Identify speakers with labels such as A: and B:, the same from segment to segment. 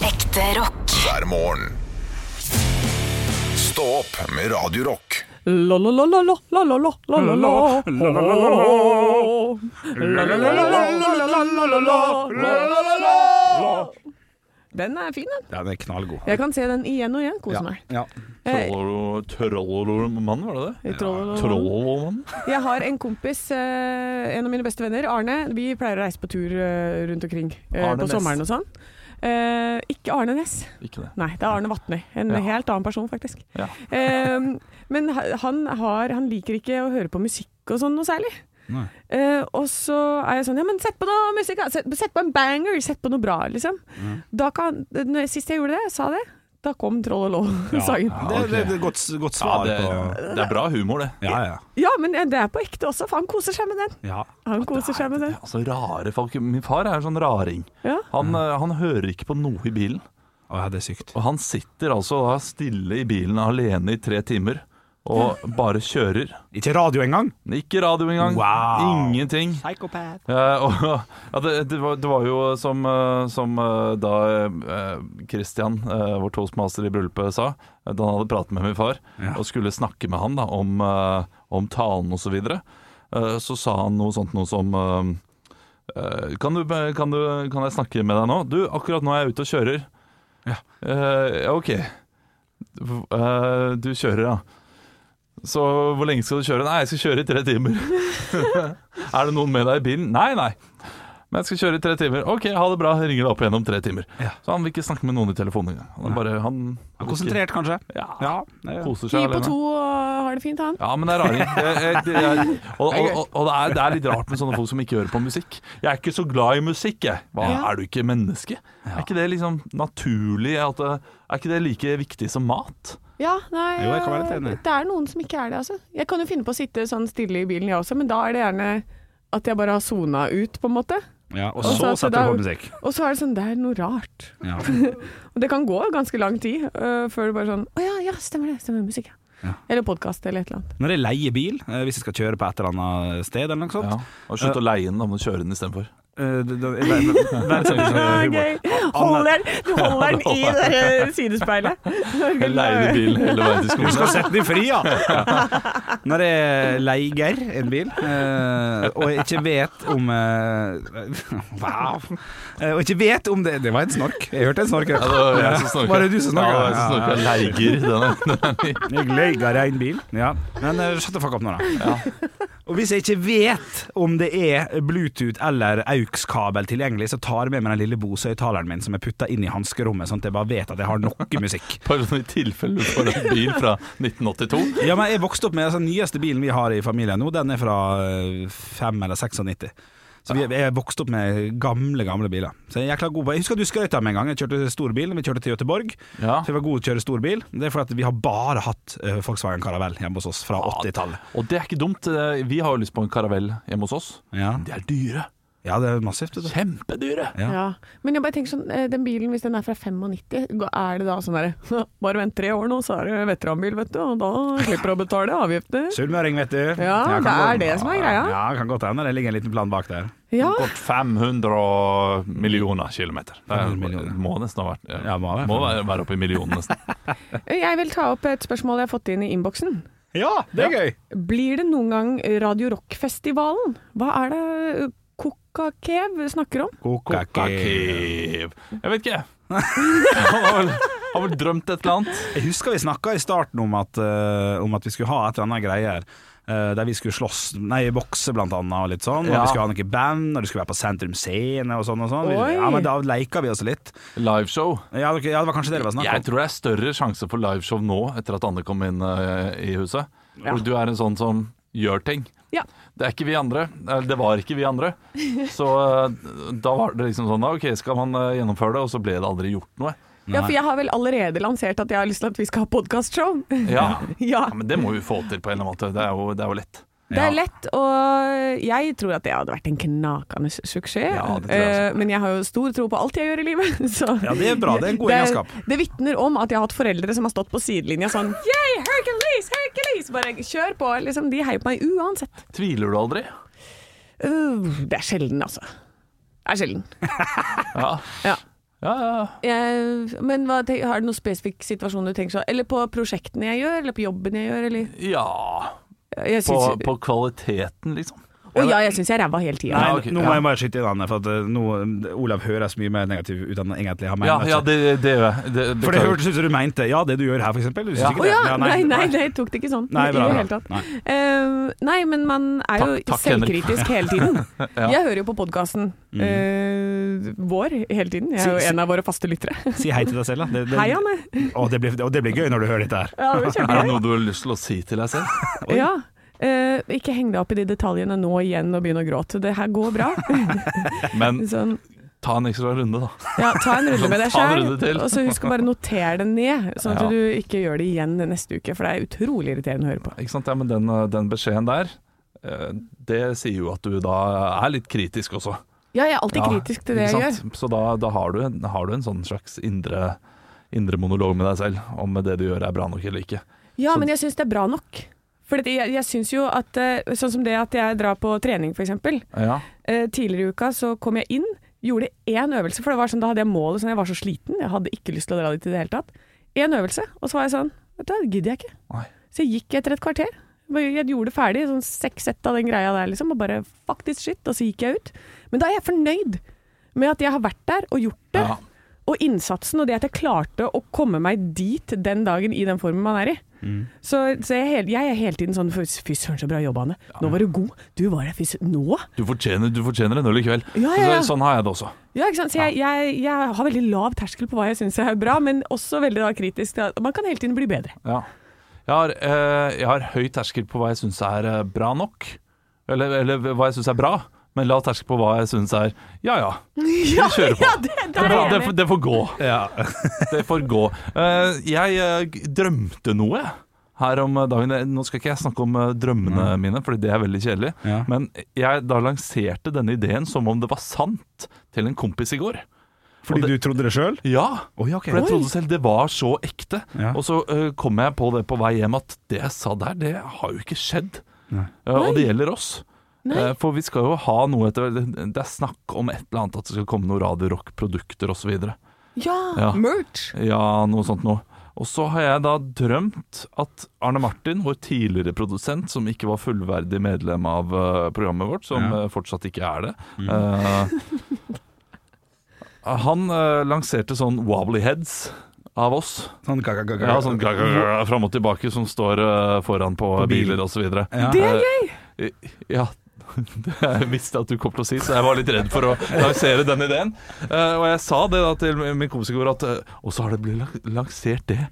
A: Ekte rock.
B: hver morgen. Stå opp med Radio Rock.
C: Den er fin, den.
D: Den er knallgod.
C: Jeg kan se den igjen og igjen. Kose meg.
D: Ja.
C: Eh,
E: Trollolomann, var det det?
C: jeg troll-
E: Trollolomann?
C: Jeg har en kompis, eh, en av mine beste venner, Arne. Vi pleier å reise på tur eh, rundt omkring eh,
E: Arne
C: på
E: Næss.
C: sommeren og sånn. Eh, Ikke Arne Næss.
E: Ikke det.
C: Nei, det er Arne Vatnøy. En
E: Ja.
C: helt annen person, faktisk.
E: Ja.
C: Ehm, men ha- han, har, han liker ikke å høre på musikk og sånn noe særlig.
D: Nei.
C: Eh, og så er jeg sånn Ja, men sett på noe musikk! da. Sett, sett på en banger! Sett på noe bra, liksom. Da kan, når, sist jeg gjorde det, sa det, da kom Troll og Lå-sangen. Ja.
D: Det, det, det er godt, godt
E: Ja,
D: svar
E: det,
D: på
E: det er bra humor, det.
D: Ja, ja.
C: men det er på ekte også, for han koser seg med den.
D: ja.
C: Han koser seg med den.
E: Altså, rare folk. Min far er en sånn raring.
C: Ja.
E: Han, eh, han hører ikke på noe i bilen.
D: Å, ja, det er sykt.
E: Og han sitter altså da stille i bilen alene i tre timer og bare kjører.
D: Ikke radio engang?
E: Ikke radio engang.
D: Wow.
E: Ingenting. Eh, og, ja, det, det, var, det var jo som, eh, som eh, da eh, Christian, eh, vår toastmaster i bryllupet, sa eh, Da han hadde pratet med min far
D: Ja.
E: og skulle snakke med han da, om, eh, om talen osv., så, videre, eh, så sa han noe sånt noe som eh, eh, kan, du, kan, du, kan jeg snakke med deg nå? Du, akkurat nå er jeg ute og kjører.
D: Ja.
E: Eh, ja, ok. Eh, du kjører, ja. Så hvor lenge skal du kjøre? Nei, jeg skal kjøre i tre timer. er det noen med deg i bilen? Nei, nei. Men jeg skal kjøre i tre timer. Ok, ha det bra. Jeg Ringer deg opp igjen om tre timer.
D: Ja.
E: Så han vil ikke snakke med noen i telefonen engang. Han er bare han,
D: Ja, Konsentrert, kanskje?
E: Ja.
D: Ja. det er-
E: koser
C: Ti
E: seg
C: på to og har det fint, han.
E: Ja, men det er raring. Det- det- det er- Og, og, og, og det, er, det er litt rart med sånne folk som ikke hører på musikk. Jeg er ikke så glad i musikk, jeg. Hva,
C: Ja.
E: Er du ikke menneske? Er ikke det liksom naturlig? At, det- er ikke det like viktig som mat?
C: Ja, nei,
D: Jo, jeg kan være litt enig.
C: Det er noen som ikke er det, altså. Jeg kan jo finne på å sitte sånn stille i bilen, jeg også, men da er det gjerne at jeg bare har sona ut, på en måte.
D: Ja, og
C: Og så at
D: så
C: det
D: setter du på
C: er-
D: musikk.
C: Og så er det sånn, det er noe rart.
D: Ja.
C: Og det kan gå ganske lang tid øh, før du bare sånn Å ja, ja, stemmer det. Stemmer musikk, ja.
D: Ja.
C: Eller podkast eller et eller annet.
D: Når jeg leier bil, eh, hvis jeg skal kjøre på et eller annet sted eller noe sånt
E: Ja. Og slutt å leie den, da må du kjøre den istedenfor.
D: eh, det- det- jeg- jeg- jeg verdsetter ikke
C: Ah,
D: humor.
C: gøy. Holder, den- du holder den i det der sidespeilet.
E: Jeg leide bilen hele veien til
D: Du skal
E: skolen.
D: sette den i fri, ja! Når jeg leier en bil, eh, og jeg ikke vet om eh, Wow! Eh, Og ikke vet om det Det var en snork. Jeg hørte en snork.
E: Ja, det var jeg som snorket.
D: Var det du som snorket?
E: Ja, det var jeg som snorket. Jeg leiger denne.
D: Jeg leier en bil. Ja. Men eh, shut the fuck up nå, da. Og hvis jeg ikke vet om det er Bluetooth eller AUX-kabel tilgjengelig, så tar jeg med meg den lille Bose-høyttaleren min som jeg putter inn i hanskerommet, sånn at jeg bare vet at jeg har noe musikk.
E: Bare sånn i tilfelle du får en bil fra 1982.
D: Ja, men jeg vokste opp med altså, Den nyeste bilen vi har i familien nå, den er fra 5 eller 96. Så vi, jeg vokste opp med gamle, gamle biler. Så jeg, er jækla god på. jeg husker at du skrøt av meg en gang. Jeg kjørte stor bil, vi kjørte til Göteborg.
E: Ja.
D: Så jeg var god til å kjøre stor bil. Det er fordi at vi har bare hatt eh, Volkswagen Caravelle hjemme hos oss fra 80-tallet.
E: Og det er ikke dumt. Eh, Vi har jo lyst på en karavell hjemme hos oss.
D: Ja.
E: De er dyre.
D: ja, det er massivt. vet du.
E: Kjempedyre.
C: Ja. Men jeg bare tenker sånn, eh, den bilen, hvis den er fra 95, gå- er det da sånn derre Bare vent tre år nå, så er det veteranbil, vet du, og da slipper du å betale avgifter.
D: Sunnmøring, vet du.
C: Ja,
D: kan
C: det er
D: godt-
C: det som er greia.
D: Ja, kan godt hende det ligger en liten plan bak der.
C: Ja.
E: Gått 500 millioner kilometer. Det er-
D: 500 millioner.
E: må nesten ha vært
D: Ja, må ha det.
E: være, være oppe i millionen nesten.
C: Jeg vil ta opp et spørsmål jeg har fått inn i innboksen.
D: Ja, det er gøy!
C: Blir det noen gang Radio Rock-festivalen? Hva er det Kokakev snakker om?
D: Kokake.
E: Kharkiv. Jeg vet ikke. Han har vel, har vel drømt et eller annet.
D: Jeg husker vi snakka i starten om at, eh, om at vi skulle ha et eller annet greier. eh, der vi skulle slåss, nei, bokse blant annet og litt sånn.
E: Ja.
D: Og vi skulle ha noe band, og det skulle være på Sentrum Scene og sånn og sånn. Vi-
C: Oi.
D: Ja, men da leika vi oss litt.
E: Liveshow.
D: Ja, dere- ja, det var kanskje det det var snakk
E: Jeg
D: om.
E: tror det er større sjanse for liveshow nå etter at Anne kom inn eh, i huset.
C: Ja.
E: For du er en sånn som gjør ting.
C: Ja.
E: Det er ikke vi andre. Eller det var ikke vi andre. Så eh, da var det liksom sånn da, OK, skal man eh, gjennomføre det? Og så ble det aldri gjort noe.
C: Ja, for jeg har vel allerede lansert at jeg har lyst til at vi skal ha podkastshow.
E: Ja.
C: ja.
E: ja, Men det må vi få til på en eller annen måte. Det er jo, det er jo lett.
C: Det er lett, og jeg tror at det hadde vært en knakende su- suksess.
E: Ja, det tror jeg også.
C: Eh, Men jeg har jo stor tro på alt jeg gjør i livet. Så.
D: Ja, det er bra. Det er en god egenskap.
C: Det vitner om at jeg har hatt foreldre som har stått på sidelinja sånn Yay, Hercules, Hercules! Bare kjør på. Liksom, de heier på meg uansett.
E: Tviler du aldri?
C: Uh, det er sjelden, altså. Det er sjelden.
E: Ja.
C: Ja.
E: Ja, ja.
C: Jeg, men hva, tenk- har du noen spesifikk situasjon du tenker sånn Eller på prosjektene jeg gjør, eller på jobben jeg gjør, eller
E: ja.
C: jeg
E: På,
C: syns,
E: på kvaliteten, liksom.
C: Å ja, jeg syns jeg er ræva hele tida.
D: Nei,
E: Ja, ok,
D: nå
E: ja.
D: må jeg bare skyte inn Anne, for at eh, nå, Olav høres mye mer negativ ut enn han egentlig har
E: Ja,
D: ment.
E: ja det, det gjør jeg. Det,
D: for det
E: beklager.
D: hørtes ut som du mente ja, det du gjør her, for eksempel. Du syns
E: Ja.
D: ikke
C: Å
D: det?
C: ja!
D: Ja,
C: Nei, nei, nei, jeg tok det ikke sånn.
D: Nei,
C: I
D: bra,
C: det
D: bra.
C: hele tatt.
D: Nei.
C: Eh, nei, men man er jo
E: Takk- takk, Henrik.
C: selvkritisk hele tiden.
E: Ja.
C: Jeg hører jo på podkasten vår hele tiden. Jeg er jo
D: Si- si-
C: en av våre faste lyttere.
D: Si hei til deg selv, da. Det, det,
C: Hei, Anne.
D: Å, det, blir, og det blir gøy når du hører dette her.
C: Ja, det var
E: Er det
C: kjempegøy.
E: noe du har lyst til å si til deg selv?
D: Oi.
C: Ja. Eh, ikke heng deg opp i de detaljene nå igjen og begynn å gråte. Det her går bra.
E: Men
C: Sånn,
E: ta en ekstra runde, da.
C: ja, ta en runde med deg
E: Ta en
C: sjøl,
E: runde til.
C: og så husk å bare notere det ned, sånn
E: Ja.
C: at du ikke gjør det igjen neste uke, for det er utrolig irriterende å høre på.
E: Ikke sant? Ja, men den, eh, den beskjeden der, eh, det sier jo at du da er litt kritisk også.
C: Ja, jeg er alltid
E: Ja,
C: kritisk til det
E: ikke
C: jeg gjør.
E: sant? Så da, da har, du en, har du en sånn slags indre, indre monolog med deg selv, om det du gjør er bra nok eller ikke.
C: Ja,
E: Så-
C: men jeg syns det er bra nok. For jeg, jeg syns jo at eh, Sånn som det at jeg drar på trening, for eksempel.
E: Ja,
C: Eh, Tidligere i uka så kom jeg inn, gjorde én øvelse, for det var sånn, da hadde jeg målet sånn, jeg var så sliten, jeg hadde ikke lyst til å dra dit i det hele tatt. Én øvelse, og så var jeg sånn Vet du hva, det gidder jeg ikke.
E: Nei.
C: Så jeg gikk etter et kvarter. Bare- Jeg gjorde det ferdig, sånn seks sett av den greia der, liksom, og bare fuck this shit, og så gikk jeg ut. Men da er jeg fornøyd med at jeg har vært der og gjort det,
E: Ja.
C: og innsatsen, og det at jeg klarte å komme meg dit den dagen i den formen man er i.
E: Mm.
C: Så, så jeg, er hel- jeg er hele tiden sånn Fy fy søren, så bra jobba, Anne. Nå var du god. Du var der, fy søren. Nå?
E: du fortjener, du fortjener en øl i kveld.
C: Ja, ja, ja.
E: Så, sånn har jeg det også.
C: Ja, ikke sant? Så jeg, jeg, jeg har veldig lav terskel på hva jeg syns er bra, men også veldig da, kritisk. til at Man kan hele tiden bli bedre.
E: Ja. Jeg, har, eh, jeg har høy terskel på hva jeg syns er eh, bra nok, eller, eller hva jeg syns er bra, men lav terskel på hva jeg syns er ja ja.
C: Ja,
E: kjører på.
C: ja det, der
E: Det,
C: er jeg
E: det,
C: enig.
E: det får gå.
D: Ja.
E: Det får gå. Eh, jeg eh, g- drømte noe jeg, her om eh, dagen. Nå skal ikke jeg snakke om eh, drømmene mine, Fordi det er veldig kjedelig.
D: Mm. Ja.
E: Men jeg da lanserte denne ideen som om det var sant, til en kompis i går.
D: Fordi du trodde det sjøl?
E: Ja,
D: Oi, ok.
E: for jeg trodde selv det var så ekte.
D: Ja.
E: Og så eh, kom jeg på det på vei hjem at det jeg sa der, det har jo ikke skjedd.
D: Nei.
E: Eh, og det gjelder oss. Eh, for vi skal jo ha noe etter Det er snakk om et eller annet, at det skal komme noen Radio Rock-produkter osv.
C: Ja,
E: Ja.
C: merch.
E: Ja, noe sånt noe. Og så har jeg da drømt at Arne Martin, vår tidligere produsent, som ikke var fullverdig medlem av eh, programmet vårt, som
D: Ja.
E: eh, fortsatt ikke er det eh, Han eh, lanserte sånn wobbly heads av oss.
D: Sånn, ga, ga, ga, ga.
E: Ja, sånn gra- gra- gra- fram og tilbake som står eh, foran på,
D: På bil.
E: biler osv.
D: Ja.
C: Det er gøy!
E: Eh, Ja, det visste jeg at du kom til å si, så jeg var litt redd for å lansere den ideen. Eh, og jeg sa det da til min kompis i går, at eh, Og så har det blitt lan- lansert det.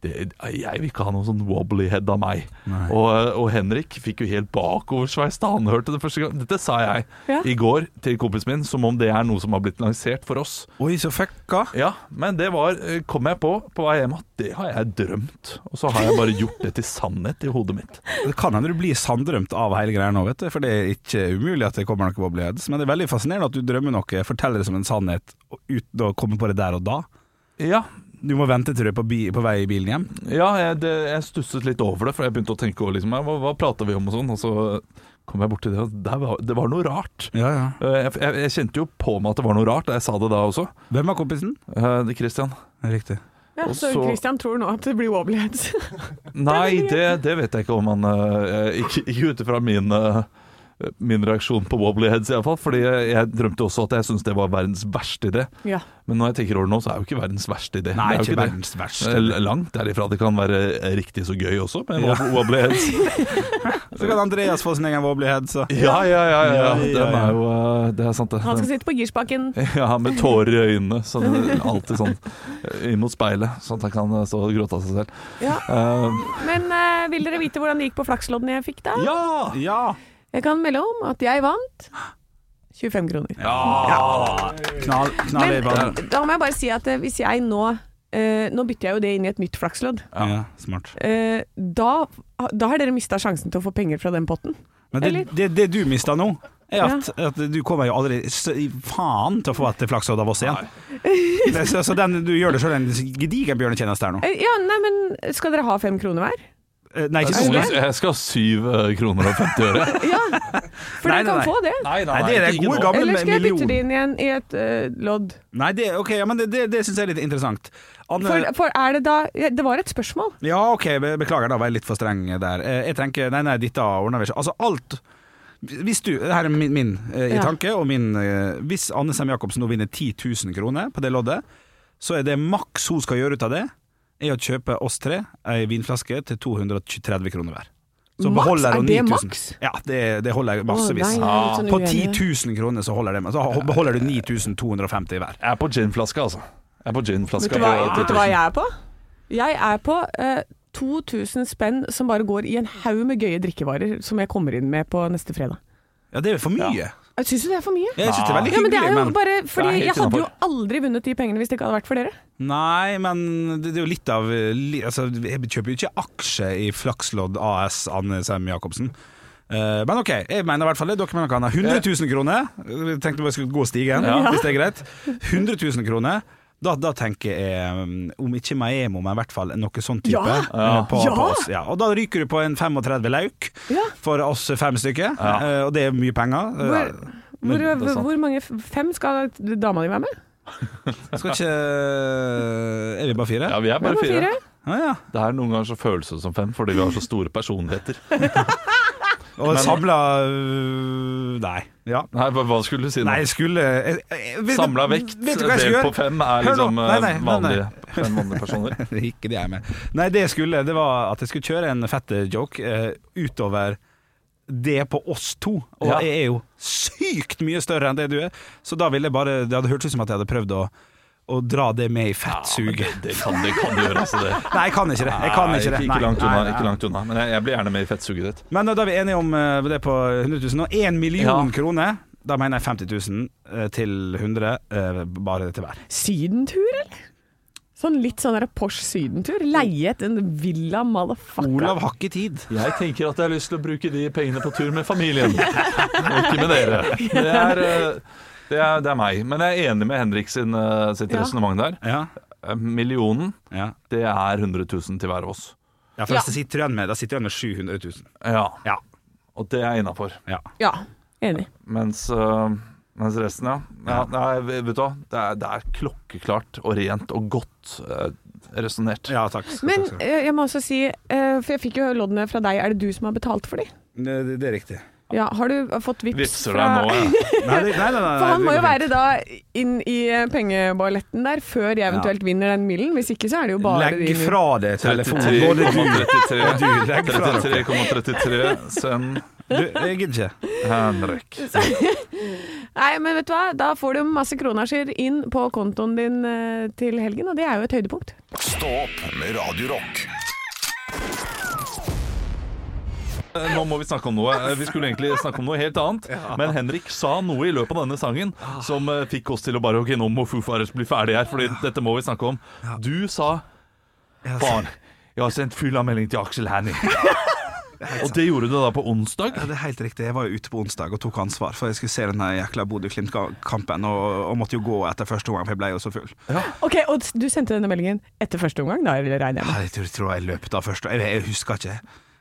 E: det. Jeg vil ikke ha noen sånn wobbly head av meg.
D: Nei.
E: Og, eh, og Henrik fikk jo helt bakoversveis da han hørte det første gang. Dette sa jeg
C: Ja.
E: i går til kompisen min, som om det er noe som har blitt lansert for oss.
D: Oi, så fucka.
E: Ja, men det var, eh, kom jeg på på vei hjem, at det har jeg drømt. Og så har jeg bare gjort det til sannhet i hodet mitt.
D: Det kan hende du blir sanndrømt av hele greia nå, vet du. For det er ikke umulig at det kommer noe bobbleheads. Men det er veldig fascinerende at du drømmer noe, forteller det som en sannhet, og uten å komme på det der og da.
E: Ja,
D: Du må vente til du er på, bi på vei i bilen hjem.
E: Ja, jeg, det, jeg stusset litt over det, for jeg begynte å tenke over liksom, hva, hva prater vi om og sånn, og så kom jeg borti det, og der var, det var noe rart.
D: Ja, ja.
E: Eh, Jeg, jeg, jeg kjente jo på meg at det var noe rart, og jeg sa det da også,
D: Hvem er kompisen?
E: eh, det Christian.
D: Riktig.
C: Ja,
E: Og
C: så
E: så-
C: Christian tror nå at det blir wobbleheads.
E: Nei, det, det vet jeg ikke om han eh, Ikke, ikke ut ifra min, eh, min reaksjon på wobblyheads, iallfall, fordi jeg drømte også at jeg syntes det var verdens verste idé.
C: ja.
E: Men når jeg tenker over det nå, så er jo ikke verdens verste idé.
D: Nei,
E: det er jo
D: ikke
E: det.
D: verdens verste.
E: Eh, Langt derifra. Det kan være riktig så gøy også, med
D: Ja.
E: wobblyheads.
D: Så kan Andreas få sin egen wobblehead, så.
E: Ja, ja, ja, ja.
D: Ja, ja,
E: Den
D: ja.
E: er jo eh, Det er sant, det.
C: Han skal sitte på girspaken.
E: Ja, med tårer i øynene. Så det er alltid sånn eh, inn mot speilet, sånn at han kan eh, stå og gråte av seg selv.
C: Ja.
E: Eh,
C: Men eh, vil dere vite hvordan det gikk på flaksloddene jeg fikk da?
E: ja!
D: Ja!
C: Jeg kan melde om at jeg vant 25 kroner.
D: Knall, knall i
C: Men
D: banen.
C: da må jeg bare si at eh, hvis jeg nå eh, Nå bytter jeg jo det inn i et nytt flakslodd.
D: Ja, smart.
C: Eh, da, da har dere mista sjansen til å få penger fra den potten.
D: Men det,
C: Eller?
D: det, det du mista nå, er at, at du kommer jo aldri s- i faen til å få et flakslodd av oss igjen. Det, så så den, du gjør deg sjøl en gedigen bjørnetjeneste her nå.
C: Eh, ja, nei, men skal dere ha fem kroner hver?
D: Eh, Nei, ikke
E: Jeg
D: noen.
E: skal,
C: det?
E: jeg skal ha syv eh, kroner og 50 øre.
C: Ja, for
D: Nei,
C: du
D: nei,
C: kan
D: nei.
C: få det.
D: Nei, det er det gode gamle
C: Eller skal jeg
D: million.
C: bytte det inn igjen i et eh, lodd?
D: Nei, det, ok, ja, men det, det, det syns jeg er litt interessant. Anne-
C: For, for er det da ja, Det var et spørsmål.
D: Ja, OK, be- beklager, da var jeg litt for streng der. Eh, Jeg tenker, nei, nei, dette ordner vi ikke. Altså, alt Hvis du, det her er min, min eh, i
C: Ja.
D: tanke, og min eh, Hvis Anne Sem Jacobsen nå vinner 10 000 kroner på det loddet, så er det maks hun skal gjøre ut av det, er å kjøpe oss tre ei vinflaske til 230 kroner hver. Så
C: Maks?
D: beholder
C: Er
D: hun
C: det
D: 9000.
C: maks?
D: Ja, det, det holder jeg massevis.
C: Å, nei, jeg er litt sånn
D: på
C: uenig.
D: 10 000 kroner så holder det, men så beholder du 9250 hver.
E: Jeg er på ginflaska, altså. Jeg er på
C: Vet
E: ginflaska
C: du, hva,
E: på
C: vet du hva
E: 3000.
C: jeg er på? Jeg er på eh, 2000 spenn som bare går i en haug med gøye drikkevarer som jeg kommer inn med på neste fredag.
D: Ja, det er for mye.
C: Syns du det er for mye?
D: Jeg syns det er veldig
C: Ja, men det er
D: hyggelig,
C: jo bare
E: Det er
C: fordi
E: helt
C: Jeg hadde jo
E: innenfor.
C: aldri vunnet de pengene hvis det ikke hadde vært for dere.
D: Nei, men det det er jo litt av li- altså, Jeg kjøper jo ikke aksje i Flakslodd AS, Anne Sem Jacobsen. Eh, men ok, jeg mener i hvert fall det. Dere mener dere kan ha 100 000 kroner. Jeg tenkte bare jeg skulle gå stigen,
E: Ja.
D: hvis det er greit. 100 000 kroner. Da, da tenker jeg, um, om ikke Maemo, men i hvert fall noe sånn type.
C: Ja.
D: eh, På,
C: Ja.
D: På oss. Ja, og da ryker du på en 35 lauk
C: Ja.
D: for oss fem stykker,
E: Ja.
D: eh, og det er mye penger. Eh,
C: Hvor, hvor,
D: men det er sant.
C: hvor mange Fem skal dama di være med?
D: Skal ikke eh, Er vi bare fire?
E: Ja, vi er bare
C: Hvem er
E: fire.
C: fire?
D: Ah, ja.
E: Det her noen ganger så føles det som fem, fordi vi har så store personligheter.
D: Og samla øh, Nei. Ja.
E: Nei, hva hva skulle du si nå?
D: Nei, jeg skulle jeg- jeg- vet-
E: Samla vekt
D: Vet du hva jeg skulle
E: delt på
D: gjøre?
E: fem er
D: Hør nå.
E: liksom
D: Nei, nei,
E: eh,
D: nei,
E: vanlige, fem vanlige personer.
D: Ikke det jeg er med. Nei, det jeg skulle, det var at jeg skulle kjøre en fett joke eh, utover det på oss to. Og
E: Ja.
D: jeg er jo sykt mye større enn det du er, så da ville jeg bare Det hadde hørtes ut som at jeg hadde prøvd å, å dra det med i fettsuget.
E: Det kan det kan du gjøre, altså. det
D: Nei, jeg kan ikke det. Jeg kan ikke det.
E: Ikke
D: Nei,
E: langt
D: nei,
E: unna,
D: nei.
E: ikke langt unna. Men jeg, jeg blir gjerne med i fettsuget ditt.
D: Men da er vi enige om eh, det på 100 000. Og 1 million
E: Ja.
D: kroner, da mener jeg 50 000 eh, til 100, eh, bare til hver.
C: Sydentur, eller? Sånn litt sånn der Porsche sydentur. Leie et en villa motherfucker.
D: Olav har ikke tid.
E: Jeg tenker at jeg har lyst til å bruke de pengene på tur med familien, og ikke med dere. Det er, eh, det er, det er meg. Men jeg er enig med Henrik sin, eh, sitt
C: Ja.
E: resonnement der.
D: Ja,
E: Eh, Millionen,
D: ja.
E: det er 100 000 til hver av oss.
D: ja for
C: Ja.
D: hvis det sitter igjen med, da sitter jeg igjen med 700 000.
E: Ja,
D: Ja.
E: og det er innafor.
D: ja.
C: Ja, enig.
E: Mens, eh, mens resten, ja. ja nei, vet du hva, det er, det er klokkeklart og rent og godt uh, resonnert.
D: Ja, takk. skal-
C: Men
D: takk skal du ha.
C: eh, jeg må også si, eh, for jeg fikk jo loddene fra deg, er det du som har betalt for de?
D: det, det- det er riktig.
C: Ja, har du fått vips
E: Vipser
C: fra
E: deg nå, ja.
D: Nei, det, nei, nei, nei, nei,
C: For han
D: det
C: må
D: går
C: jo
D: fint.
C: være da inn i eh, pengeballetten der før jeg eventuelt vinner den millen. Hvis ikke så er det jo bare
D: Legg
C: din-
D: fra deg telefonen. Både du og
E: 33,33
D: du. Legg fra deg.
E: 33,33 send
D: Du, jeg gidder ikke.
E: Henrik.
C: Nei, men vet du hva? Da får du masse kronasjer inn på kontoen din eh, til helgen, og det er jo et høydepunkt.
B: Stå opp med Radio Rock.
E: Eh, Nå må vi snakke om noe. Vi skulle egentlig snakke om noe helt annet. Men Henrik sa noe i løpet av denne sangen som eh, fikk oss til å bare Ok, nå må Foo Fighters bli ferdig her, Fordi dette må vi snakke om. Du sa Faen, jeg har sendt fyllamelding til Aksel Hennie. Og det gjorde du da på onsdag.
D: Ja, det er helt riktig. Jeg var jo ute på onsdag og tok ansvar, for jeg skulle se den her jækla Bodø-Glimt-kampen, og, og måtte jo gå etter første omgang, for jeg ble jo så full.
C: Ok, og du sendte denne meldingen etter første omgang, da regner jeg med.
D: Ja, Ah, Jeg tror, tror jeg løp da først. Jeg, jeg husker ikke.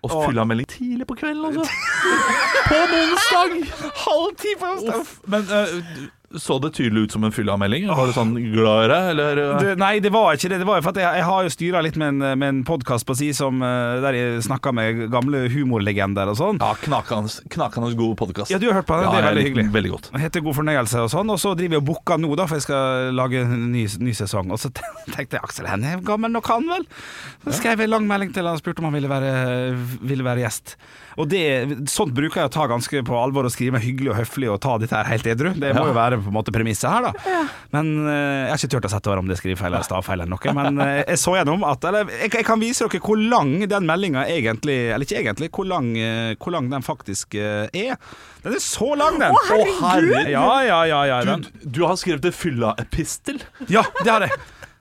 E: Og fyllamelding tidlig på kvelden, altså. På en onsdag!
D: Halv ti på onsdag!
E: Uff. Men eh, du- så det tydelig ut som en fyllamelding? Var du sånn glad i det, eller? eh?
D: Det, nei, det var ikke det. Det var jo for at jeg, jeg har jo styra litt med en, med en podkast på si som, eh, der jeg snakka med gamle humorlegender og sånn.
E: Ja, knakende, knakende god podkast.
D: Ja, du har hørt på den.
E: Ja,
D: det er
E: jeg
D: veldig
E: likte
D: hyggelig.
E: den Veldig godt.
D: Det heter God fornøyelse og sånn, og så driver jeg og booker nå, da, for jeg skal lage en ny, ny sesong. Og så tenkte jeg Aksel Hennie er gammel nok, han vel? Så skrev jeg en lang melding til han og spurte om han ville være, ville være gjest. Og det, sånt bruker jeg å ta ganske på alvor, og skrive meg hyggelig og høflig og ta dette her helt edru. Det må jo være på en måte premisset her, da. Men eh, jeg har ikke turt å sette over om det er skrivefeil eller stavfeil eller noe, men eh, jeg så gjennom at Eller jeg, jeg kan vise dere hvor lang den meldinga egentlig Eller ikke egentlig, hvor lang, eh, hvor lang den faktisk eh, er. Den er så lang, den!
E: Å, herregud!
D: Ja, ja, ja, ja, den.
E: Du, du har skrevet det fylla-epistel?
D: ja det har jeg.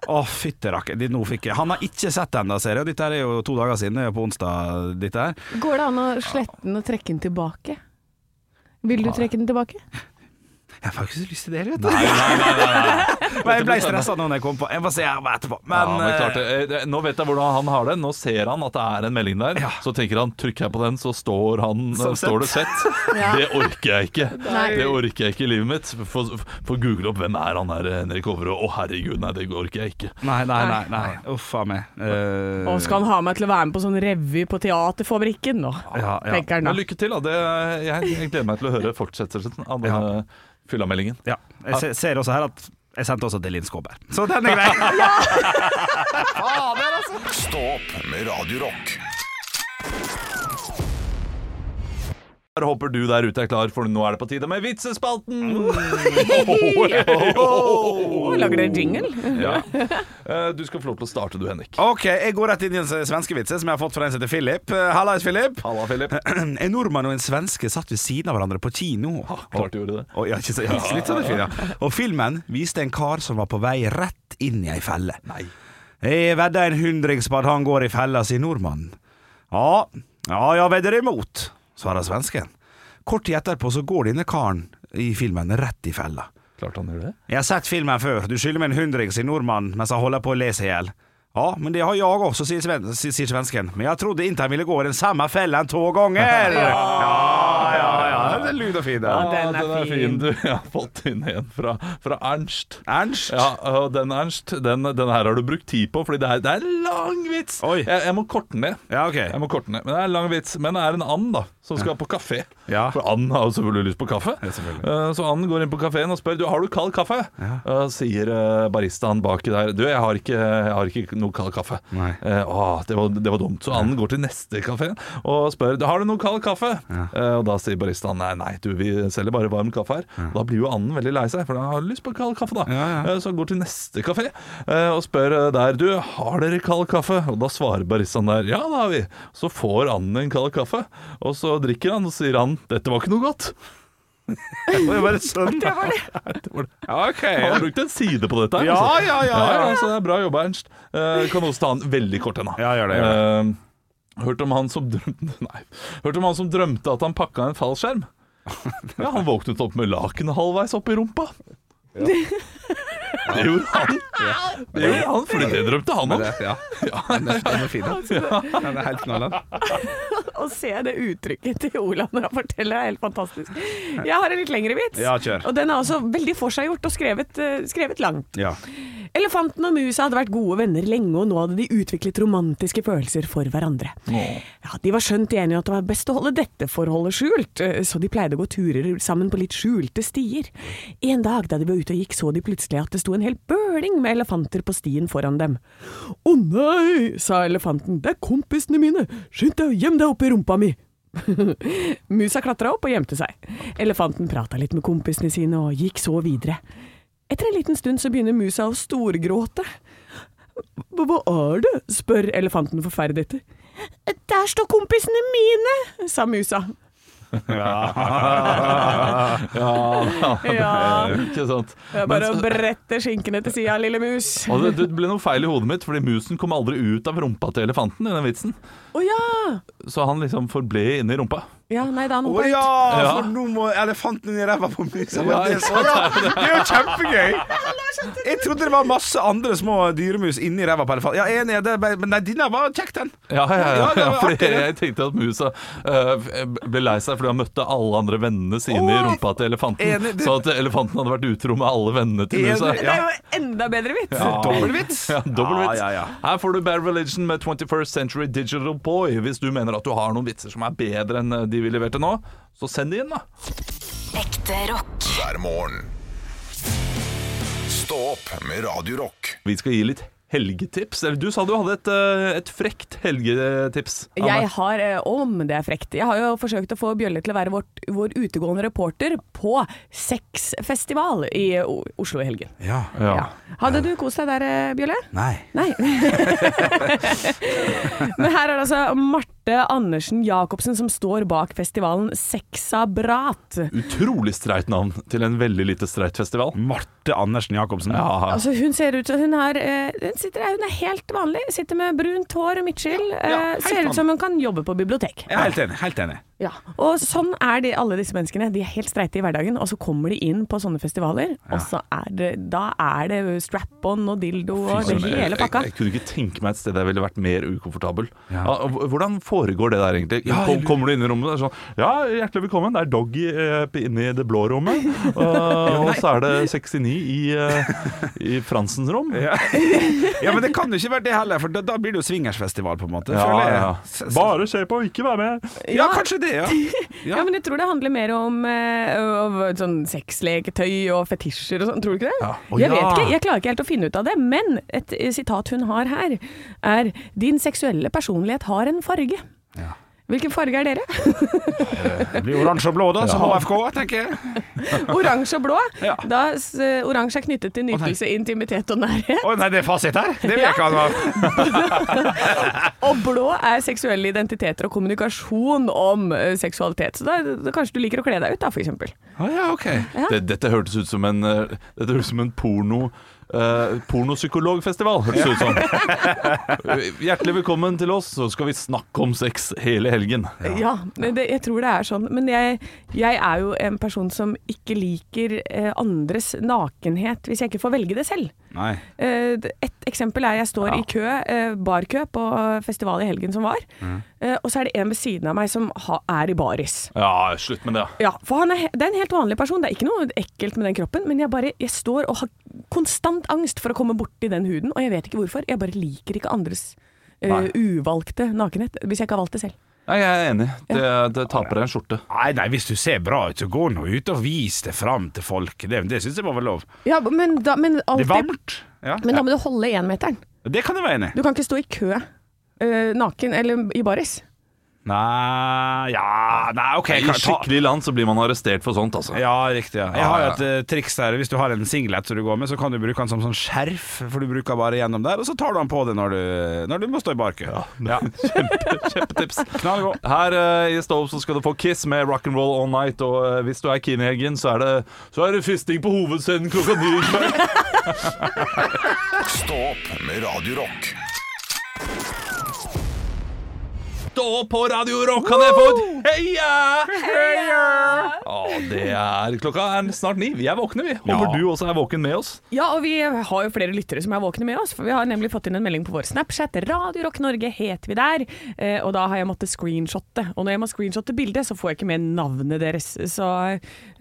D: Å, fytterakker. det- Nå fikk jeg Han har ikke sett den, da, ser jeg. Dette her er jo to dager siden, det er jo på onsdag. Dette her.
C: Går det an å slette den og trekke den tilbake? Vil du trekke den tilbake?
D: Jeg har faktisk lyst til det, vet du.
E: Nei, nei, nei, nei, nei.
D: ble, jeg ble
E: dette blir
D: stressa nå når jeg kom på. Jeg må se her etterpå. Men,
E: Ja, men klart det. Eh, det- Nå vet jeg hvordan han har det. Nå ser han at det er en melding der.
D: Ja.
E: Så tenker han trykker jeg på den, så står, han,
D: Som
E: eh, står det
D: sett.
E: sett. Det orker jeg ikke.
C: Nei.
E: Det orker jeg ikke i livet mitt. Få få google opp hvem er han her eh, Henrik Overå. Å herregud, nei, det orker jeg ikke.
D: Nei, nei, nei. nei. Uff a meg. Eh,
C: Og skal han ha meg til å være med på sånn revy på Teaterfabrikken nå?
D: Ja, ja.
C: Tenker han
E: Men
C: da.
E: lykke til, da. Det, jeg, jeg gleder meg til å høre fortsettelsen av denne fyllameldingen.
D: ja. Jeg se- ser også her at jeg sendte også til Linn Skåber. Så den er grei.
B: Stå opp med Radio Rock.
E: Jeg håper du der ute er klar, for nå er det på tide med vitsespalten! Mm.
C: Å, lager dere jingle?
E: Ja. Eh, Du skal få lov til å starte, du, Henrik.
D: OK, jeg går rett inn i en svenskevits som jeg har fått fra en som heter Philip. Eh, Hallais, Philip.
E: Halla, Philip.
D: En nordmann og en svenske satt ved siden av hverandre på kino.
E: Ah, Klart du gjorde det.
D: Og, ja, ikke så, ja, litt sånn er fint, ja. og filmen viste en kar som var på vei rett inn i ei felle.
E: Nei.
D: Jeg vedder en hundrings på at han går i fella, sier nordmannen. Ja, ja, jeg vedder imot, svarer svensken. Kort tid etterpå så går denne karen i filmen rett i fella.
E: Klart han gjorde det.
D: Jeg har sett filmen før, du skylder meg en hundring, sier nordmannen mens han holder på å le seg i hjel. Ja, men det har jeg også, sier, sven sier sier svensken. Men jeg trodde ikke han ville gå i den samme fellen to ganger. Ja, ja, ja, det er lyd og fint.
E: Ja,
D: det.
E: Ah, den,
C: den
E: er
C: er
E: fin. Du, jeg har fått inn en fra, fra Ernst.
D: Ernst?
E: Ja, og den Ernst, den, den her har du brukt tid på, fordi det er, det er en lang vits.
D: Oi.
E: Jeg, jeg må korte den ned.
D: Ja, ok.
E: Jeg må korte den ned, men Det er en lang vits. Men det er en and da som skal på kafé.
D: Ja.
E: For and har jo selvfølgelig lyst på kaffe.
D: Ja, selvfølgelig.
E: Eh, så and går inn på kafeen og spør Du, har du kald kaffe. Eh, sier eh, baristaen baki der Du, jeg har ikke, jeg har ikke noe kald kaffe.
D: Nei.
E: Eh, «Åh, det, var, det var dumt. Så anden går til neste kafé og spør «Du, Har du noe kald kaffe. Eh, og Da sier baristaen nei, nei, du, vi selger bare varm kaffe her. Da blir jo anden veldig lei seg, for han har lyst på kald kaffe. da
D: Ja, ja.
E: Eh, Så han går til neste kafé eh, og spør eh, der du, har dere kald kaffe. Og Da svarer baristaen der ja, det har vi. Så får anden en kald kaffe, og så drikker han, og så sier han dette var ikke noe godt.
D: Det var sånn.
C: Det var det.
D: Ok.
E: Han har brukt en side på dette. her,
D: Ja,
E: altså.
D: ja, ja, ja.
E: så det er Bra jobba, Ernst. Eh, kan også ta den veldig kort ennå.
D: Ja, gjør det,
E: Eh, hørt om han som drømte Nei. Hørt om han som drømte at han pakka en fallskjerm? Ja, han våknet opp med lakenet halvveis opp i rumpa. Det gjorde han. Det gjorde han, fordi det drømte han om.
D: Ja. Den er, den er fin. Den er helt knallen.
C: Å se det uttrykket til Ola når han forteller, er helt fantastisk. Jeg har en litt lengre vits.
D: Ja, kjør.
C: Og den er også veldig forseggjort og skrevet, eh, skrevet langt.
D: Ja.
C: Elefanten og musa hadde vært gode venner lenge, og nå hadde de utviklet romantiske følelser for hverandre. Ja, de var skjønt enige om at det var best å holde dette forholdet skjult, eh, så de pleide å gå turer sammen på litt skjulte stier. En dag da de var ute og gikk, så de plutselig at det sto en hel bøling med elefanter på stien foran dem. Å nei, sa elefanten, det er kompisene mine, skynd deg og gjem deg oppi rumpa mi. Musa klatra opp og gjemte seg. Elefanten prata litt med kompisene sine og gikk så videre. Etter en liten stund så begynner musa å storgråte. Hva hva er det? spør elefanten forferdet. Der står kompisene mine, sa musa.
E: Ja, Eh,
C: Ja.
E: ikke sant.
C: Det er
E: Men
C: bare
E: så-
C: å brette skinkene til sida, lille mus. Å
E: og det, det ble noe feil i hodet mitt, fordi musen kom aldri ut av rumpa til elefanten. i den vitsen
C: ja!
E: Så han liksom forble inne i rumpa.
C: Ja, nei, da er
D: Å
C: noe på
D: ja,
C: ut.
E: Ja.
D: for nå må elefanten i ræva på musa.
E: Ja,
D: det, er så, ja, det er jo kjempegøy! Jeg trodde det var masse andre små dyremus inni ræva på elefanten. Ja, jeg er enig, det er bare- men nei, denne var kjekk, den.
E: Ja, ja, ja,
D: Ja, det var
E: fordi
D: artig, det.
E: jeg tenkte at musa eh, ble lei seg fordi han møtte alle andre vennene sine i
D: Åh,
E: rumpa til elefanten.
D: enig, det-
E: Så at elefanten hadde vært utro med alle vennene til musa.
D: Enig,
C: Det er jo enda bedre vits.
D: Dobbel vits.
E: Ja, dobbel vits.
D: Ja, ja, ja.
E: Her får du Bad Religion med 21st Century Digital Boy. Hvis du mener at du har noen vitser som er bedre enn eh, de vi leverte nå, så send de inn, da.
A: Ekte rock.
B: hver morgen. Stå opp med Radio Rock.
E: Vi skal gi litt helgetips. Eller du sa du hadde et, eh, et frekt helgetips.
C: Jeg har, eh, om det er frekt, jeg har jo forsøkt å få Bjølle til å være vårt, vår utegående reporter på sexfestival i O- Oslo i helgen.
D: Ja.
E: ja.
C: Ja. Hadde du kost deg der, eh, Bjølle?
D: Nei.
C: Nei. Men her er altså Marte Marte Andersen Jacobsen, som står bak festivalen Sexabrat.
E: Utrolig streit navn til en veldig lite streit festival.
D: Marte Andersen Jacobsen.
E: Ja.
C: Altså, hun ser ut som hun har eh, hun, sitter, hun er helt vanlig. Sitter med brunt hår og midtskill.
D: ja,
C: eh,
D: helt
C: ser
D: vanlig.
C: ut som hun kan jobbe på bibliotek.
D: Jeg er helt enig. helt enig
C: Ja. Og sånn er de, alle disse menneskene. De er helt streite i hverdagen, og så kommer de inn på sånne festivaler, og så er det, da er det strap-on og dildo og det
E: Fy søren, Altså, jeg-
C: hele pakka.
E: Jeg, jeg kunne ikke tenke meg et sted jeg ville vært mer ukomfortabel.
D: Ja.
E: Ja, og h- hvordan foregår det der egentlig?
D: Ja, jeg
E: Kom,
D: lurer-
E: kommer du inn i rommet og er sånn Ja, hjertelig velkommen, det er Doggy eh, inne i det blå rommet. eh, og så er det 69 i, eh, i Fransens rom.
D: Ja. ja, men det kan jo ikke være det heller, for da, da blir det jo swingersfestival, på en måte.
E: Ja,
D: føler jeg.
E: ja.
D: S- s-
E: Bare se på og ikke være med!
D: Ja, kanskje det, ja.
C: Ja.
D: Ja.
C: men jeg tror det handler mer om eh, om sånn sexleketøy og fetisjer og sånn, tror du ikke det?
E: Ja. Å,
C: Jeg vet
E: ja.
C: ikke, jeg klarer ikke helt å finne ut av det, men et eh, sitat hun har her er Din seksuelle personlighet har en farge. Hvilken farge er dere?
D: Det blir oransje og blå, da, som
E: Ja.
D: HFK, tenker jeg.
C: Oransje og blå.
D: Ja.
C: Da s- eh, oransje er knyttet til nytelse, intimitet og nærhet.
D: Å nei, det er fasit her! Det vil jeg ikke ha noe av.
C: Og blå er seksuelle identiteter og kommunikasjon om eh, seksualitet. Så da, da kanskje du liker å kle deg ut, da, for eksempel.
D: Å ja, ok.
E: Det, dette hørtes ut som en, eh, dette hørtes som en porno... eh, pornopsykologfestival, hørtes det ut som. Hjertelig velkommen til oss, så skal vi snakke om sex hele helgen.
C: Ja, men det, jeg tror det er sånn. Men jeg, jeg er jo en person som ikke liker eh, andres nakenhet hvis jeg ikke får velge det selv.
D: Nei.
C: Eh, d- et eksempel er jeg står i kø, eh, barkø på festival i helgen som var, eh, og så er det en ved siden av meg som ha, er i baris.
E: Ja, slutt med det.
C: Ja, for han er, he- det er en helt vanlig person, det er ikke noe ekkelt med den kroppen, men jeg bare, jeg står og har konstant angst for å komme borti den huden, og jeg vet ikke hvorfor, jeg bare liker ikke andres eh,
E: Nei.
C: uvalgte nakenhet, hvis jeg ikke har valgt det selv.
E: Nei, jeg er enig. Det, det taper deg en skjorte.
D: Nei, nei, hvis du ser bra ut, så gå nå ut og vis det fram til folk. Det, det syns jeg var vel lov.
C: Ja, men, da, men
D: Det
C: alltid
D: er varmt. Ja.
C: Men da må du holde énmeteren.
D: Det kan jeg være enig i.
C: Du kan ikke stå i kø eh, naken eller i baris.
D: Nei Ja, nei, OK.
E: I
D: kan jeg ta-
E: skikkelig land så blir man arrestert for sånt, altså.
D: Ja, riktig. Ja. Jeg har jo et eh, triks der. Hvis du har en singlet som du går med, så kan du bruke den som sånn skjerf, for du bruker bare gjennom der, og så tar du den på deg når du, når du må stå i barkø. Ja.
E: Kjempetips.
D: Knallgod.
E: Her eh, i Stove så skal du få Kiss med Rock'n'Roll All Night, og eh, hvis du er keen i helgen, så er det, så er det fisting på hovedscenen klokka ni i kveld.
B: Stå opp med Radio Rock.
E: Stå på Radio Rock, han er fått! Heia! Heia! Å, det er Klokka er snart ni. Vi er våkne, vi.
D: Ja.
E: Håper du også er våken med oss.
C: Ja, og vi har jo flere lyttere som er våkne med oss, for vi har nemlig fått inn en melding på vår Snapchat. Radio Rock Norge heter vi der, eh, og da har jeg måttet screenshotte. Og når jeg må screenshotte bildet, så får jeg ikke med navnet deres, så eh,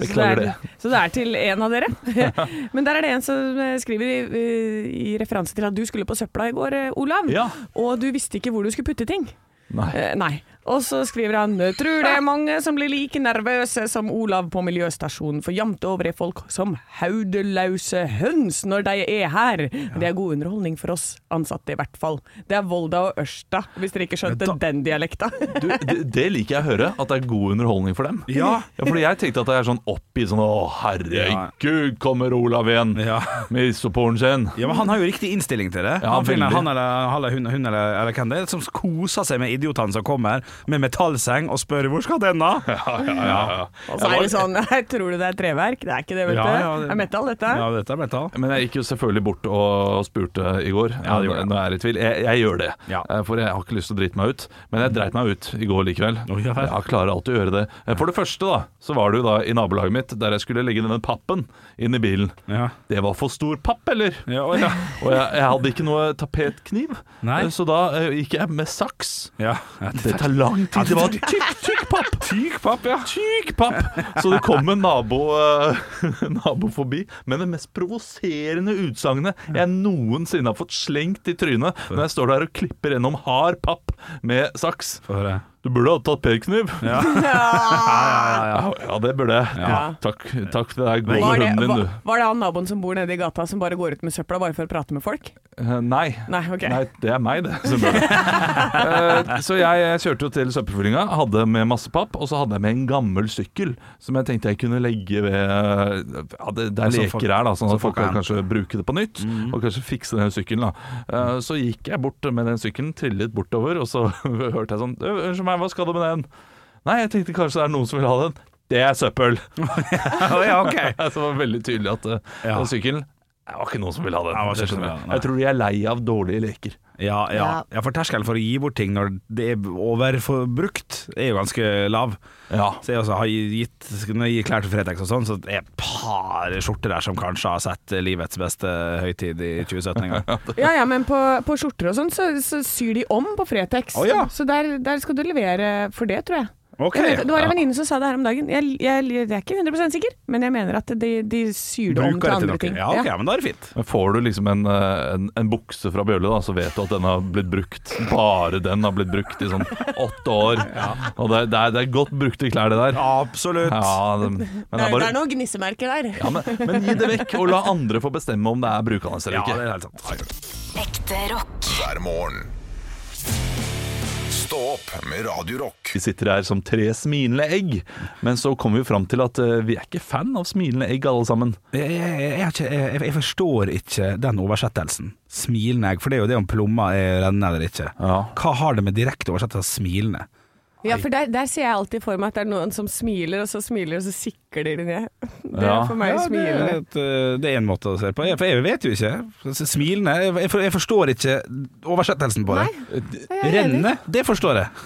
E: Beklager
C: så det. Er, så det er til en av dere. Men der er det en som eh, skriver i, eh, i referanse til at du skulle på søpla i går, eh, Olav,
E: Ja.
C: og du visste ikke hvor du skulle putte ting.
E: Nei.
C: Eh, nei. Og så skriver han Tror det er mange som blir like nervøse som Olav på miljøstasjonen, for jevnt over er folk som hodeløse høns når de er her. Men Det er god underholdning for oss ansatte, i hvert fall. Det er Volda og Ørsta, hvis dere ikke skjønte den dialekta.
E: Du, det, det liker jeg å høre, at det er god underholdning for dem.
D: Ja.
E: Fordi jeg tenkte at det er sånn oppi sånn Å, herregud, kommer Olav igjen
D: Ja.
E: med isoporen sin.
D: Ja, men Han har jo riktig innstilling til det.
E: Ja,
D: han, finner,
E: veldig.
D: han eller, han eller hun, hun eller, eller hvem det er, som koser seg med idiotene som kommer med metallseng og spør 'hvor skal denne?'
C: Og så er det sånn «Nei, Tror du det er treverk? Det er ikke det, vet du.
D: Ja, ja,
C: det er metal, dette.
D: Ja, dette er metall.
E: Men jeg gikk jo selvfølgelig bort og spurte i går.
D: Ja, det gjorde jeg.
E: Når jeg er i tvil. Jeg, jeg gjør det,
D: Ja.
E: Eh, for jeg har ikke lyst til å drite meg ut. Men jeg dreit meg ut i går likevel.
D: Oi, ja vel.
E: jeg klarer alltid å gjøre det. Eh, For det første da, så var det jo da i nabolaget mitt, der jeg skulle legge denne pappen inn i bilen.
D: Ja.
E: Det var for stor papp, eller?
D: Ja, å ja.
E: Og jeg, jeg hadde ikke noe tapetkniv,
D: Nei.
E: Eh, så da eh, gikk jeg med saks.
D: Ja. Ja, det-
E: Det tar lang tid. det var tykk, tykk papp. Tykk papp, ja. Tykk papp. Så det kom en nabo, eh, nabo forbi med det mest provoserende utsagnet jeg noensinne har fått slengt i trynet når jeg står der og klipper gjennom hard papp med saks.
D: Få høre.
E: Du burde ha tatt p-kniv. Ja. Ja, det burde jeg.
C: Ja.
E: Takk, takk for det der gode
C: Var det,
E: hunden din,
C: var,
E: du.
C: var det han naboen som bor nede i gata som bare går ut med søpla bare for å prate med folk?
E: Eh, Nei.
C: Nei, ok.
E: Nei, det er meg, det. som gjør det. Eh, så jeg eh, kjørte jo til søppelfyllinga, hadde med masse papp, og så hadde jeg med en gammel sykkel som jeg tenkte jeg kunne legge ved eh, ja, det, Det er
D: Så
E: leker
D: Altså, folk-
E: her, da, sånn
D: så
E: at folk
D: folk Mm.
E: kan
D: kan-
E: kanskje bruke det på nytt, og kanskje fikse den sykkelen. da. Eh, så gikk jeg bort med den sykkelen, trillet bortover, og så hørte jeg sånn «Ø, Unnskyld meg, hva skal du med den? Nei, jeg tenkte kanskje det er noen som vil ha den. Det er søppel!
D: Å, ja, ok.
E: Så det var veldig tydelig at eh,
D: Ja.
E: den sykkelen det var ikke noen som ville ha den.
D: Det var ikke
E: det skjønner
D: noen som ville ha
E: jeg.
D: den, nei.
E: jeg tror de er lei av dårlige leker.
D: Ja, ja.
A: Ja.
D: ja, for terskelen for å gi bort ting når det er overforbrukt, er jo ganske lav.
E: Ja.
D: Så jeg også har gitt Når jeg gir klær til Fretex og sånn, så er det et par skjorter der som kanskje har sett livets beste høytid i 2017 en gang.
C: Ja ja, men på, på skjorter og sånn, så, så syr de om på Fretex.
D: Å, ja.
C: Så der, der skal du levere for det, tror jeg.
D: Ok.
C: jeg vet, det var en venninne som sa det her om dagen. Jeg, jeg, jeg er ikke 100 sikker, men jeg mener at de, de syr det om
D: Bruker
C: til
D: det til
C: andre
D: noe.
C: ting.
D: Ja, ok, men da er det fint.
E: Men Får du liksom en, eh, en, en bukse fra Bjørle, da, så vet du at den har blitt brukt. Bare den har blitt brukt i sånn åtte år. Og det, det, er, det er godt brukte klær, det der.
D: Absolutt.
E: Ja, det, men det er bare,
C: noen gnissemerker der.
E: ja, men, men gi det vekk, og la andre få bestemme om det er brukende eller
D: Ja, det
E: ikke.
D: er helt sant.
A: Ekte rock.
B: hver morgen. Stå opp med Radio Rock.
E: Vi sitter her som tre smilende egg, men så kommer vi fram til at eh, vi er ikke fan av smilende egg, alle sammen.
D: Jeg, jeg, jeg, er ikke- jeg, jeg forstår ikke den oversettelsen. Smilende egg, for det er jo det om plomma er rennende eller ikke.
E: Ja.
D: Hva har det med direkte oversettelse av smilende?
C: Ja, for der, der ser jeg alltid for meg at det er noen som smiler, og så smiler, og så sikker de ned. Det er
E: Ja.
C: for meg
D: Ja, det er
C: smilende.
D: et, eh, det er en måte å se på. Jeg, for jeg vet jo ikke. Altså, Smilende jeg, jeg, for- jeg forstår ikke oversettelsen på det.
C: jeg er enig.
D: Renne, det forstår jeg.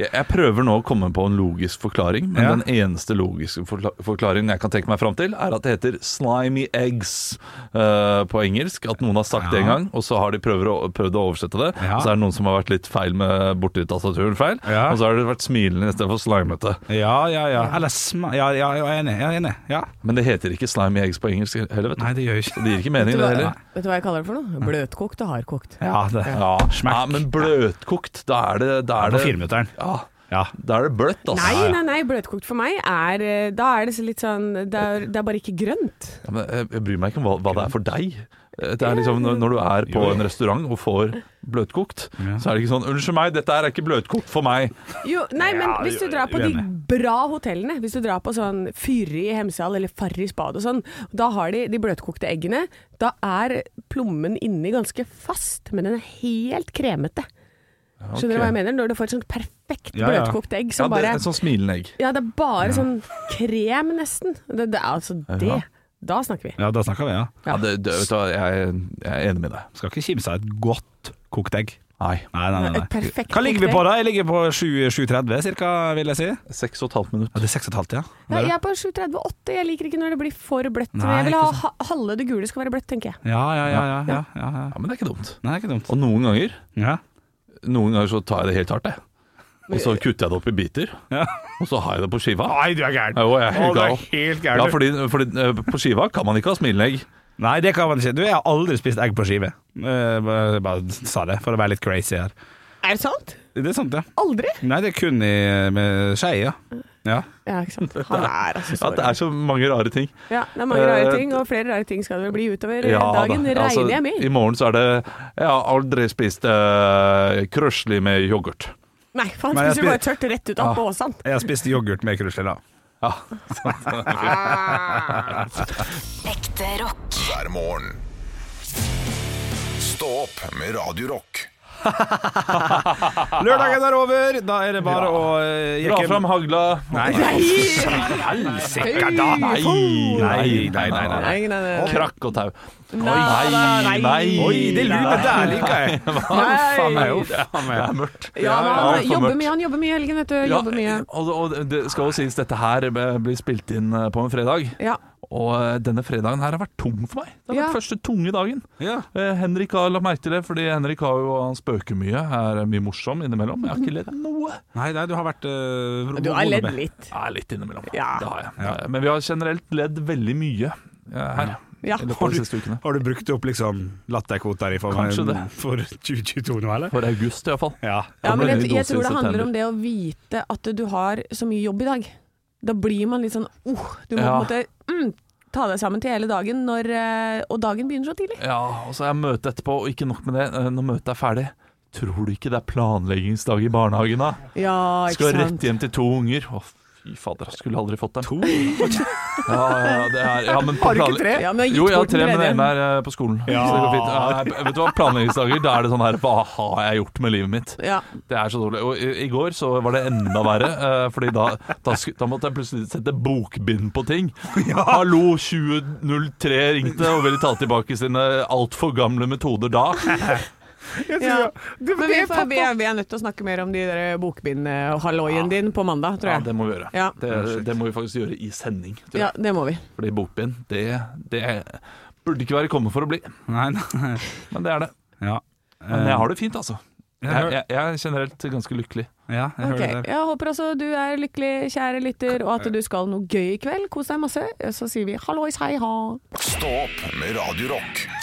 E: Jeg, jeg prøver nå å komme på en logisk forklaring, men
D: Ja.
E: den eneste logiske forkla- forklaringen jeg kan tenke meg fram til, er at det heter 'slimy eggs' eh, på engelsk. At noen har sagt det en
D: Ja.
E: gang, og så har de prøver å, prøvd å oversette det.
D: Ja.
E: Så er det noen som har vært litt feil med borti tastaturen feil,
D: Ja.
E: og så har det vært smilende istedenfor slimete.
D: Ja, ja, ja. Eller sma... Ja, ja, jeg er enig. Jeg er enig. Ja.
E: Men det heter ikke 'slimy eggs' på engelsk heller, vet du.
D: Nei, det gjør jeg ikke
E: Det gir ikke mening, det heller.
C: Vet du hva jeg kaller det for noe? Bløtkokt og hardkokt.
D: Ja, det
E: Ja,
D: Smack.
E: ja, men bløtkokt, da er det, da er
D: På
E: det
D: fireminutteren.
E: Ja,
D: Ja.
E: da er det bløtt, altså.
C: Nei, nei, nei, bløtkokt for meg er eh, Da er det så litt sånn Det er, det er bare ikke grønt.
E: Ja, men eh, jeg, jeg bryr meg ikke om hva, hva det er for deg. Det er liksom Når, når du er på en restaurant og får bløtkokt, så er det ikke sånn 'Unnskyld meg, dette her er ikke bløtkokt for meg'.
C: Jo, nei, men hvis du drar på de
D: uenig.
C: bra hotellene, hvis du drar på sånn Fyrre i Hemsedal eller Farris bad og sånn, da har de de bløtkokte eggene. Da er plommen inni ganske fast, men den er helt kremete. Skjønner du hva jeg mener? Når du får et sånt perfekt
D: Ja, ja.
C: bløtkokt egg
E: Ja,
C: som
E: det,
C: bare
E: en sånn smilende egg.
C: Ja, det er bare sånn krem, nesten. Det, det er altså det.
E: Ja.
C: Da snakker vi.
D: ja, da snakker vi, ja.
E: Ja, det, det, vet du, hva, jeg, jeg er enig med deg.
D: Skal ikke kimse av et godt kokt egg.
E: Nei.
D: Nei, nei, nei.
C: Et
D: nei.
C: perfekt
D: Hva ligger vi
C: kokt
D: på da? Jeg ligger på 7.30 cirka, vil jeg si. Ja,
E: Seks og et halvt minutt.
D: det er 6,5, ja.
C: Ja, jeg er på 7.38. Jeg liker ikke når det blir for bløtt.
D: Nei,
C: jeg vil
D: ikke
C: ha ha- halve det gule skal være bløtt, tenker jeg.
D: Ja, ja, ja. ja, ja, ja, ja.
E: Ja, Men det er ikke dumt.
D: Nei, det er ikke dumt.
E: Og noen ganger
D: Ja.
E: Noen ganger så tar jeg det helt hardt, jeg. Og så kutter jeg det opp i biter,
D: Ja.
E: og så har jeg det på skiva.
D: Nei, du er gæren.
E: Jo, jeg er
D: Å,
E: helt
D: du er
E: gal.
D: helt
E: Ja,
D: gæren. du.
E: fordi, fordi eh, på skiva kan man ikke ha smilende egg.
D: Nei, det kan man ikke. Du, jeg har aldri spist egg på skive. Eh, bare- Jeg bare sa det, for å være litt crazy her.
C: Er det sant?
D: Det er sant, ja.
C: Aldri?
D: Nei, det er kun i, med skei, ja. ja.
C: Ja, ikke sant. Han er altså
E: Ja,
C: så
E: det er så mange rare ting.
C: Ja, det er mange rare
E: Eh,
C: ting, og flere rare ting skal det vel bli utover eh,
E: Ja,
C: dagen,
E: da.
C: regner
E: Altså,
C: jeg
E: I
C: med.
E: morgen så er det Jeg har aldri spist uh, krøsli med yoghurt.
C: Nei, for han
D: Men jeg
C: spiser jo bare
D: spiser-
C: tørt rett ut av på Åsan.
D: Jeg har spist yoghurt med krusler, da.
E: Ja.
A: Ekte rock.
B: hver morgen. Stå opp med Radio Rock.
D: Lørdagen er over, da er det bare å eh,
E: Dra
D: jekke-
E: fram hagla.
D: Nei,
C: Hei!
D: helsike da! Nei, nei, nei. nei, nei.
C: Nei, nei, nei.
E: Krakk og tau.
C: Nei, nei.
D: Oi, det lunet der liker jeg! Faen meg
C: Nei.
D: opp. Faen meg.
E: Det er mørkt.
C: Ja, men
E: Ja,
C: han
E: for
C: jobber
E: mørkt.
C: mye, han jobber mye i helgen, vet du.
E: Ja,
C: Jobber mye.
E: og, og det skal jo sies, dette her blir spilt inn eh, på en fredag.
C: Ja.
E: Og eh, denne fredagen her har vært tung for meg. Det har
C: Ja.
E: vært første tunge dagen.
D: Ja.
E: Eh, Henrik har lagt merke til det, fordi Henrik har jo, han spøker mye, er eh, mye morsom innimellom. Jeg har ikke ledd noe.
D: Nei, nei, du har vært uh,
C: Du har ledd litt.
E: Ja, litt innimellom.
C: Ja.
E: Det har jeg. Men vi har generelt ledd veldig mye eh, her.
C: Ja.
E: i løpet
D: Har
E: av de
D: du-
E: siste ukene.
D: Har du brukt opp liksom latterkvoter i
E: Kanskje
D: for,
E: det.
D: for 2022 nå, eller?
E: For august i hvert fall.
D: Ja.
C: Ja, men
E: Kommer en
C: jeg,
E: ny
C: jeg
E: dose i
C: tror det handler
E: september.
C: om det å vite at du har så mye jobb i dag. Da blir man litt sånn oh, Du må på
E: Ja.
C: en måte mm, ta deg sammen til hele dagen, når, eh, og dagen begynner så tidlig.
E: Ja, og så er møte etterpå, og ikke nok med det, eh, når møtet er ferdig Tror du ikke det er planleggingsdag i barnehagen da?
C: Ja, ikke
E: Skal
C: sant.
E: rett hjem til to unger. Å, fy fader, jeg skulle aldri fått dem. To? Ja, ja, det er, ja, men på
D: Har du ikke
E: planle-
D: tre?
C: Ja, men jeg har gitt
E: Jo, jeg har
C: bort den
E: tre, men
C: tredje.
E: den ene er eh, på skolen.
D: Ja.
E: Så det går fint. Ja, nei, vet du hva, Planleggingsdager, da er det sånn her Hva har jeg gjort med livet mitt?
C: Ja.
E: Det er så dårlig. Og i, i går så var det enda verre, eh, Fordi da, da, sku, da måtte jeg plutselig sette bokbind på ting. Hallo, 2003 ringte og ville ta tilbake sine altfor gamle metoder da.
D: Jeg tror
C: Ja.
D: jeg- Det var
C: Men vi,
D: det,
C: får, vi,
D: pappa!
C: er, vi er nødt til å snakke mer om de der bokbindhalloien din på mandag, tror
E: Ja,
C: jeg.
E: det må vi gjøre.
C: Ja.
E: Det, det må vi faktisk gjøre i sending. tror jeg.
C: Ja, det må vi.
E: Fordi bokbind, det, det burde ikke være kommet for å bli.
D: Nei, nei.
E: Men det er det.
D: Ja.
E: Men jeg har det fint, altså.
D: Eh, Jeg
E: Jeg,
D: hør-
E: jeg, jeg er generelt ganske lykkelig.
D: Ja, jeg hører
C: Ok,
D: det. der.
C: Jeg håper også du er lykkelig, kjære lytter, og at du skal noe gøy i kveld. Kos deg masse. Så sier vi hallois, hei ha.
B: Stå opp med Radio Rock.